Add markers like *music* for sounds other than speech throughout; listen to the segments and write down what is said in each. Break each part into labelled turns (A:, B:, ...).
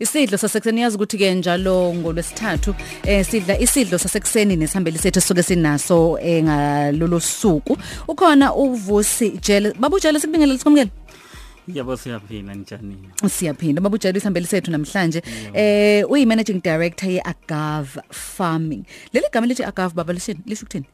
A: Isidlo sasekuseni yazi ukuthi ke njalo ngolwesithathu eh sidla isidlo sasekuseni nesihambeli sethu soke sinaso eh ngalolo suku ukhona uvusi jele babujele sikubingelele sikwamukele
B: Yebo siyaphila njani?
A: siyaphinda babujele isihambeli sethu namhlanje eh uyi managing director ye Agave Farming leli gama lithi Agave baba lishini lisho ukuthini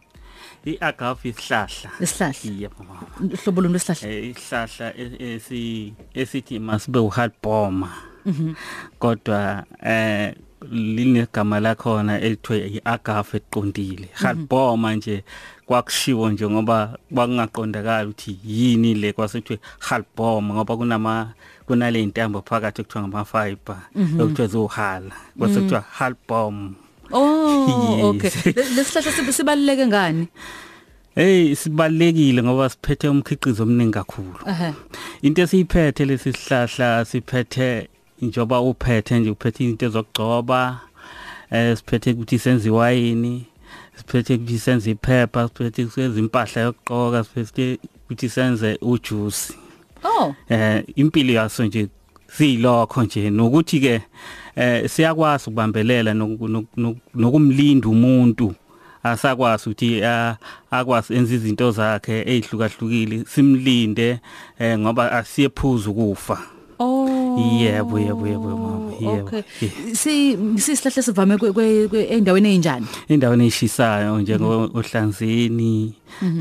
B: I-agave isihlahla.
A: isihlahla
B: Yebo mama.
A: hlobo lolu sihlahla
B: Eh isihlahla e- esi esithi masibe uhalboma. Mhm. Kodwa eh linegama lakhona elithiwe i-agave eqondile. Halboma nje kwakushiwo nje ngoba kwakungaqondakala ukuthi yini le kwasekuthiwe halboma ngoba kunama kunale ntambo phakathi ekuthiwa ngama fiber ekuthiwe zohala kwasekuthiwa halboma.
A: oh okay
B: Yes.
A: Le- lesihlahla sibe- sibaluleke ngani
B: Hey sibalekile ngoba siphethe umkhiqizo omningi kakhulu.
A: ehe
B: Into esiyiphethe lesi sihlahla siphethe njoba uphethe nje uphethe into ezokugcoba eh siphethe ukuthi senziwa yini siphethe ukuthi senze iphepha siphethe ukuthi senze impahla yokugqoka siphethe ukuthi senze ujuice
A: oh
B: eh impilo yaso nje siyilokho nje nokuthi ke eh siyakwazi ukubambelela noku- noku- noku- nokumlinda umuntu asakwazi ukuthi ah, akwazi enza izinto zakhe ezihlukahlukile simlinde eh ngoba asiyephuza ukufa
A: Oh.
B: Yebo, yebo, yebo, mama, yebo.
A: Okay.
B: Yeah.
A: Si sisihlahle sivame kwe- kwe kwe- endaweni enjani?
B: indawo eshisayo njengohlanzeni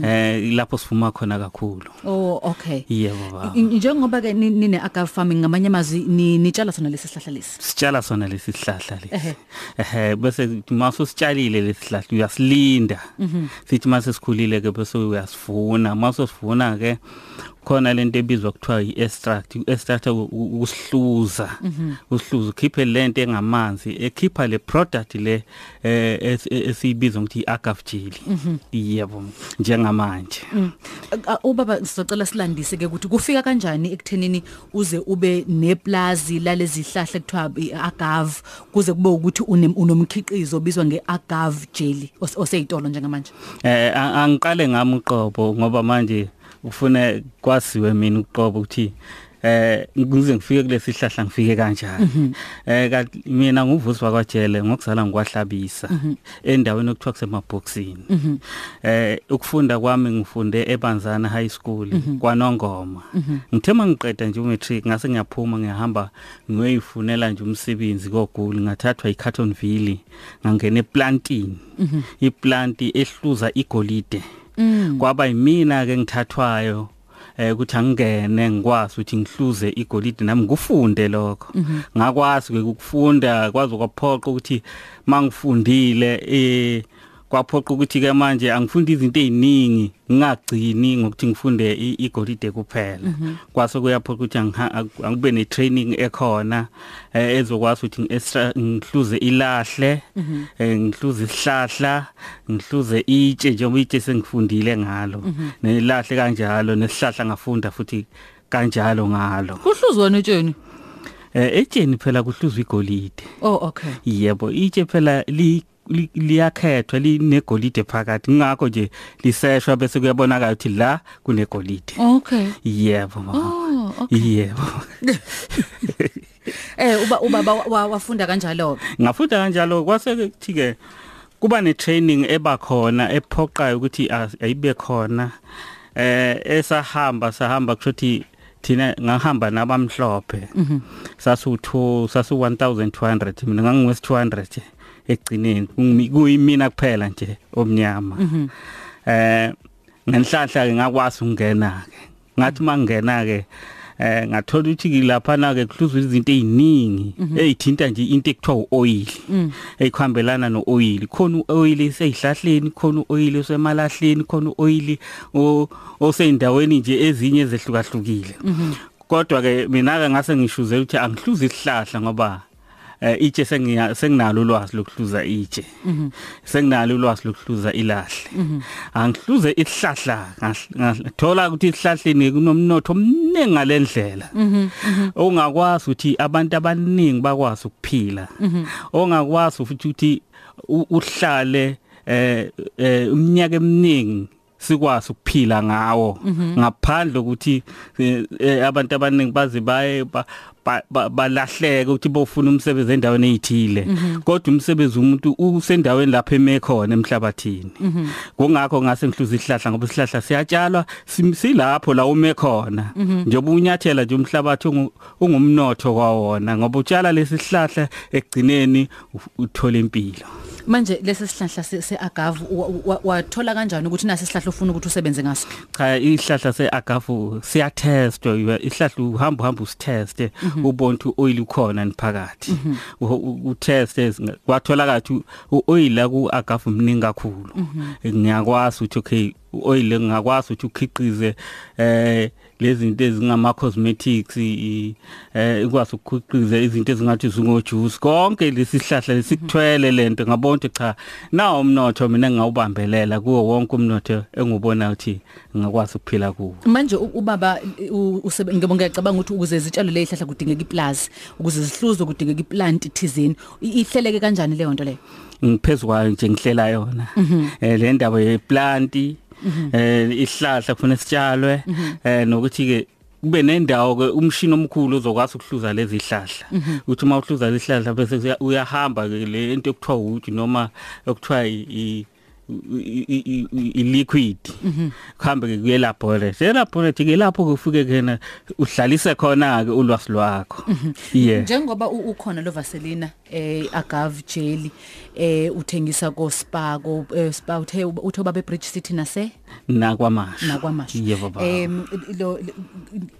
B: eh lapho sifuma khona kakhulu
A: Oh, okay.
B: yebo baba
A: I- Njengoba ke ni- nine agave farming ngamanye amazwi ni- nitshala sona lesi sihlahla lesi.
B: sitshala sona lesi sihlahla
A: Ehhe.
B: lesi ehe bese kuthi maso sitshalile lesi sihlahla uyasilinda sithi mase sikhulile ke bese uyasivuna maso sivuna ke khona lento ebizwa kuthiwa i-extract i-extract usihluza usihluza ukhiphe lento engamanzi ekhipha le product le eh, es- esiyibiza ngokuthi i-agave jelly yebo njengamanje
A: Uh, Ubaba sizocela silandise ke ukuthi kufika kanjani ekuthenini uze ube neplazi lalezi zihlahla kuthiwa i- agave kuze kube ukuthi une- unomkhiqizo obizwa ngeagave jelly os- oseyitolo njengamanje.
B: Eh a- angiqale ngami uqobo ngoba manje ufune kwasiwe mina uqobo ukuthi eh ngize ngifike kulesi sihlahla ngifike kanjani. Eh kanti mina nguvusi wakwaJele ngokuzala ngikwahlabisa endaweni okuthiwa kusemabhoxini. Eh ukufunda kwami ngifunde eBanzana High School kwaNongoma. Ngithema ngiqeda nje umatric ngase ngiyaphuma ngiyahamba ngiyoyifunela nje umsebenzi koGulu ngathathwa iCartonville ngangena eplantini. Iplanti ehluza igolide. Kwaba yimina ke ngithathwayo eh ukuthi angene ngikwazi ukuthi ngihluze igolide nami ngufunde lokho ngakwazi ke ukufunda kwazi kwaphoqa ukuthi mangifundile eh kwaphoqa ukuthi ke manje angifundi izinto eziningi ngingagcini ngokuthi ngifunde i- igolide kuphela kwase kuyaphoqa ukuthi angiha- angi- angibe ne training ekhona eh, ezokwazi ukuthi ngi- extra- ngihluze ilahle eh, ngihluze isihlahla ngihluze itshe njengoba itshe sengifundile ngalo nelahle kanjalo nesihlahla ngafunda futhi kanjalo ngalo
A: Kuhluzwa notsheni.
B: Eh, etsheni phela kuhluzwa igolide
A: Oh, okay.
B: yebo itshe phela li li- liyakhethwa linegolide phakathi ngakho nje liseshwa bese kuyabonakala ukuthi la kunegolide
A: Okay.
B: yebo mama
A: Oh,
B: yebo
A: Eh uba ubaba wa- wa- wafunda kanjalo ke.
B: ngafunda kanjalo kwase kuthi ke kuba ne training ebakhona ephoqayo ukuthi as- ayibe khona eh esahamba sahamba kushuthi thina ngahamba nabamhlophe sasuthu sasu 1200 mina ngangiwes 200 egcineni Kungimi- kuyimina kuphela nje omnyama eh ngenhlahla ke ngakwazi ukungena ke ngathi mangena ke eh ngathola ukuthi lapha na ke kuhluzwa izinto eziningi ezithinta nje into ekuthiwa uoil eyikhambelana nooil khona uoil eseyihlahleni khona uoil osemalahleni khona uoil oseyindaweni nje ezinye ezehlukahlukile kodwa ke mina ke ngase ngishuze ukuthi angihluzi isihlahla ngoba eh itshe sengiya- senginalo ulwazi lokuhluza itshe senginalo ulwazi lokuhluza ilahle angihluze isihlahla ngahl- ngahl- thola ukuthi isihlahleni kunomnotho omningi ngalendlela ongakwazi ukuthi abantu abaningi bakwazi ukuphila ongakwazi futhi ukuthi u- uhlale eh eh, iminyaka eminingi sikwazi ukuphila ngawo ngaphandle ukuthi eh, eh, abantu abaningi baze baye ba- ba- ba- balahleke ukuthi bofuna umsebenzi endaweni eyithile kodwa umsebenzi umuntu usendaweni lapho eme khona emhlabathini kungakho ngase ngihluza isihlahla ngoba isihlahla siyatshalwa sim- silapho la ume khona njengoba unyathela nje umhlabathi ungu- ungumnotho kwawona ngoba utshala lesi sihlahla ekugcineni u- uthola impilo
A: manje lesi sihlahla se- se-agave wa- wa- wathola kanjani ukuthi nasi sihlahla ufuna ukuthi usebenze ngaso
B: cha isihlahla seagafu siyatestwa iwe- isihlahla uhamba uhamba usiteste ubone ukuthi oil ukhona niphakathi uteste kwatholakala ukuthi uoil la kuagafu mningi kakhulu ngiyakwazi ukuthi okay uoil ngiyakwazi ukuthi ukhiqize eh lezi zinto ezingama cosmetics i- eh ikwazi ukukhiqiza izinto ezingathi zingojuice konke lesihlahla lesikuthwele lento ngabonke cha na umnotho mina ngawubambelela kuwo wonke umnotho engubona ukuthi ngakwazi ukuphila kuwo
A: manje u- ubaba u- usebe- ngibo- ngiyacabanga ukuthi ukuze zitshalo le yihlahla kudingeka iplazi ukuze zihluzwe kudingeka iplanti thizeni I- ihleleke kanjani leyo nto leyo
B: ngiphezukwayo nje ngihlela yona eh le ndaba yeplanti eh isihlahla kufanele sitshalwe eh nokuthi ke kube nendawo ke umshini omkhulu uzokwazi ukuhluza lezi zihlahla uthi uma uhluza lezi zihlahla bese uya- uyahamba ke le into ekuthiwa uthi noma ekuthiwa i- i i- i- i- i liquid kuhambe ke kuye laboratory e laboratory ke lapho kufike kena udlalise khona ke ulwazi lwakho yeah
A: njengoba u- ukhona lo vaselina eh agave jelly eh uthengisa ko spa ko eh, spa uthe uthe baba bridge city nase
B: nakwamasha
A: nakwamashu
B: yebo baba
A: Em, lo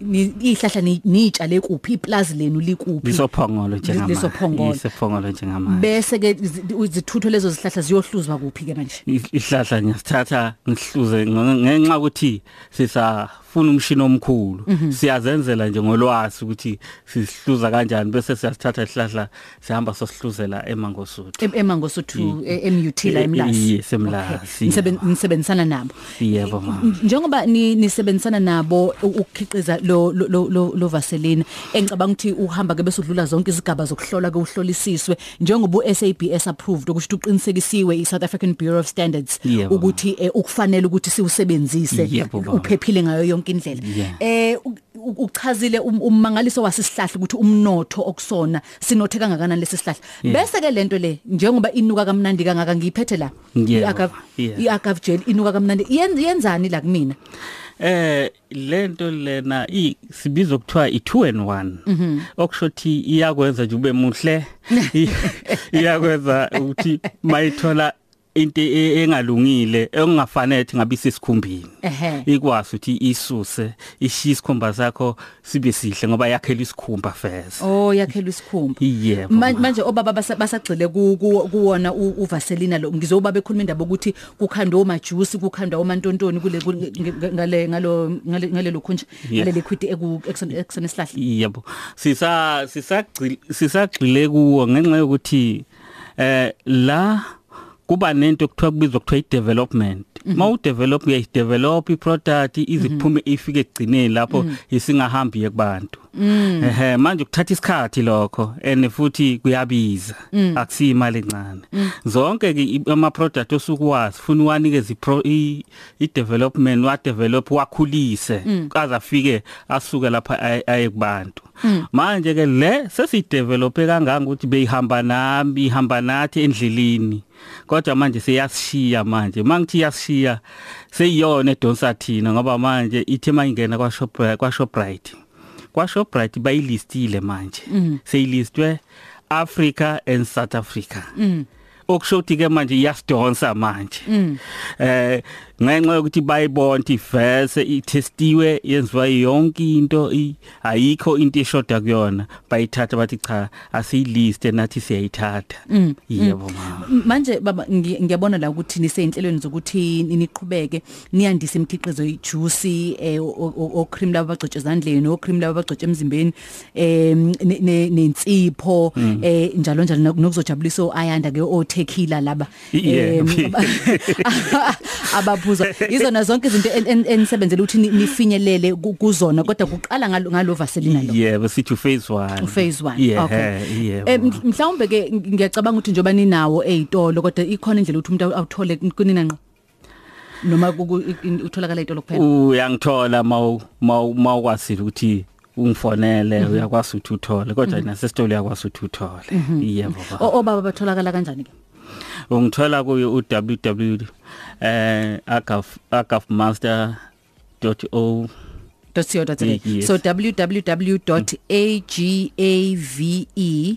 A: ihlahla nitshale kuphi iplazi lenu likuphi
B: lisophongolo njengamanje
A: Lisophongolo.
B: lisophongolo njengamanje
A: bese ke izithutho lezo zihlahla ziyohluzwa kuphi ke manje
B: ihlahla ngisithatha ngihluze ng- ngenxa ukuthi sisafuna umshini omkhulu
A: Mhm.
B: siyazenzela nje ngolwazi ukuthi sisihluza kanjani bese siyasithatha isihlahla sihamba sosihluzela emangosuthu
A: Em- emangosuthu e- emut la
B: Eh,
A: emlazi
B: yes, eMlazi,
A: Okay. Niseben- nisebenzisana nabo
B: yebo mama
A: njengoba ni- nisebenzisana nabo u- ukukhiqiza lo lo- lo- lo lo vaseline engicabanga ukuthi uhamba ke bese udlula zonke izigaba zokuhlola ke uhlolisiswe njengoba uSABS approved ukuthi uqinisekisiwe iSouth African Bureau of Standards
B: Yebo, mama.
A: ukuthi eh, ukufanele ukuthi siwusebenzise
B: Yebo, baba.
A: uphephile ngayo yonke indlela
B: Yeah.
A: eh u- u- uchazile um- ummangaliso wasisihlahla ukuthi umnotho okusona sinothe kangakanani lesi sihlahla bese ke lento le njengoba inuka kamnandi kangaka ngiyiphethe la
B: Yebo,
A: i-agave
B: yeah.
A: i-agave gel inuka kamnandi Yen- yenzani la kumina
B: eh lento lena i- sibizwa kuthiwa i2 and 1
A: Mhm.
B: okusho ukuthi iyakwenza nje
A: *laughs*
B: ube muhle I- iyakwenza ukuthi mayithola into e- engalungile engafanele ukuthi ngabe sisikhumbini
A: ehe
B: ikwazi ukuthi isuse ishiye isikhumba sakho sibe sihle ngoba yakhela isikhumba first
A: oh yakhelwe isikhumba
B: yebo
A: Man- manje obaba basa- basagcile ku- ku- kuwona u- uvaselina lo ngizoba bekhuluma indaba ukuthi kukhandwa omajuice kukhandwa omantontoni kule kule- nge- ngale ngalo ngale- ngalelo khunje
B: Yeah.
A: ngale liquid eku- ekusona ekusona isihlahla
B: yebo sisa sisagcile sisagcile kuwo ngenxa yokuthi eh la kuba nento ekuthiwa kubizwa kuthiwa i-development ma udevelop uyayidevelop i-product ize kuphume ifike ekugcineni lapho isingahambi ye kubantu ehe manje kuthatha isikhathi lokho and futhi kuyabiza akusiyi imali encane zonke ke i- ama-product osukuwazi funa uwanikeze ipro- i- i-development wadevelop wakhulise kaze afike asuke lapha aye- aye kubantu manje ke le sesiyidevelophe kangaka ukuthi beyihamba nami ihamba nathi endleleni kodwa manje seyasishiya manje mangithi iyasishiya seyiyona edonsa thina ngoba manje ithe mayingena kwa-Shoprite- kwa-shoprite kwa-shoprite bayilistile manje
A: Mm.
B: seyilistwe africa and south africa
A: Mm.
B: okusho ukuthi-ke manje iyasidonsa manje um ngenxa yokuthi bayibona ukuthi vese ithestiwe yenziwa yonke into i- ayikho into eshoda kuyona bayithatha bathi cha asiyiliste nathi siyayithatha
A: Mm.
B: yebo mama
A: M- manje baba ngi- ngiyabona la ukuthi niseyinhlelweni zokuthi niqhubeke niyandisa imikhiqizo ijuice eh, o- o- o cream laba bagcotshe ezandleni o cream laba bagcotshe emzimbeni eh ne- ne- nensipho eh njalo njalo nok- nokuzojabulisa oayanda ke o tequila laba
B: Yeah.
A: Em, *laughs* aba- abaphuza izona zonke izinto en- en- enisebenzele ukuthi ni- nifinyelele ku- kuzona kodwa kuqala ngalo ngalo vaselina lo
B: yebo sithi uphase one
A: phase 1
B: yeah,
A: okay
B: yebo
A: Em, mhlawumbe ke ngiyacabanga ukuthi njoba ninawo ezitolo kodwa ikhona indlela ukuthi umuntu awuthole kunina ngqo noma kuku- i- in- utholakala itolo kuphela
B: uyangithola mawu mawukwasile ukuthi ungifonele uyakwazi ukuthi uthole kodwa nasesitolo uyakwazi ukuthi uthole yebo baba
A: O- obaba batholakala kanjani ke
B: ungithola ku www eh agaf agafmaster.o
A: .co.za
B: Yes.
A: so www.agave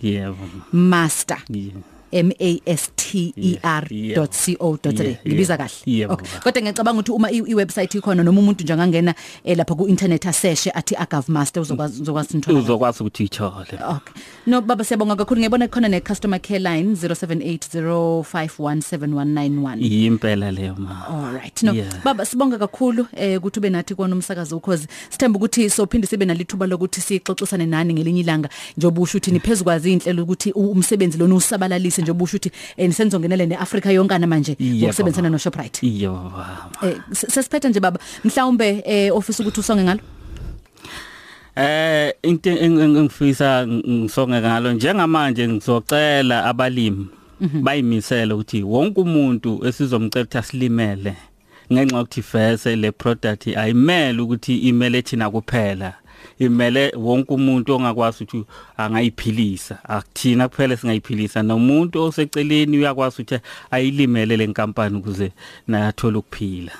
B: yebo
A: E master
B: Yeah.
A: m a s t e r
B: Yeah, yeah.
A: .co.za
B: Yeah,
A: ngibiza
B: yeah.
A: kahle
B: Yeah,
A: Okay.
B: baba.
A: kodwa ngiyacabanga ukuthi uma i- iwebsite ikhona noma umuntu nje angangena eh, lapha ku internet aseshe athi agave master uzokwazi uzokwazi nithola
B: uzokwazi ukuthi ithole
A: Okay. No baba siyabonga kakhulu ngiyabona kukhona ne customer care line 0780517191.
B: yimpela leyo ma
A: All right. No
B: Yeah.
A: baba sibonga kakhulu eh ukuthi ube nathi kona umsakazo ukhozi. Sithemba ukuthi sophinde sibe nalithuba lokuthi sixoxisane nani ngelinye ilanga njengoba usho ukuthi niphezukwazi inhlelo ukuthi u- umsebenzi lona usabalalise njengoba usho ukuthi eh, nisenzongenele neAfrica yonke manje
B: Yeah,
A: ukusebenzisana
B: baba.
A: noShoprite.
B: yebo baba
A: Eh s- sesiphetha nje baba mhlawumbe eh office ukuthi usonge ngalo.
B: Eh into eng- eng- engifisa ng- ngisonge ngalo njengamanje ngizocela abalimi bayimisele ukuthi wonke umuntu esizomcela silimele ngenxa yokuthi fese le product ayimele ukuthi imele thina kuphela imele wonke umuntu ongakwazi ukuthi angayiphilisa akuthina kuphela singayiphilisa nomuntu oseceleni uyakwazi ukuthi ayilimele le nkampani ukuze naye athole ukuphila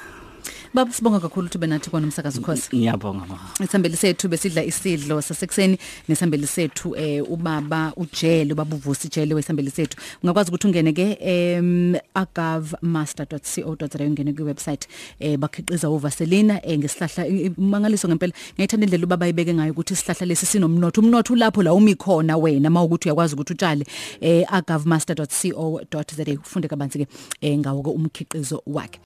A: Baba sibonga kakhulu ukuthi ube nathi kona umsakazo ukhozi.
B: ngiyabonga ma
A: isambeli sethu besidla isidlo sasekuseni nesambeli sethu eh ubaba ujele ubaba uvusi jele wesambeli sethu ungakwazi ukuthi ungene ke em agavmaster.co.za ungene ku website eh bakhiqiza uvaselina eh ngesihlahla i- i- mangaliso ngempela ngiyithanda indlela ubaba ayibeke ngayo ukuthi isihlahla lesi sinomnotho umnotho ulapho la umi khona wena mawukuthi uyakwazi ukuthi utshale eh agavmaster.co.za ufunde kabanzi ke eh ngawo ke umkhiqizo wakhe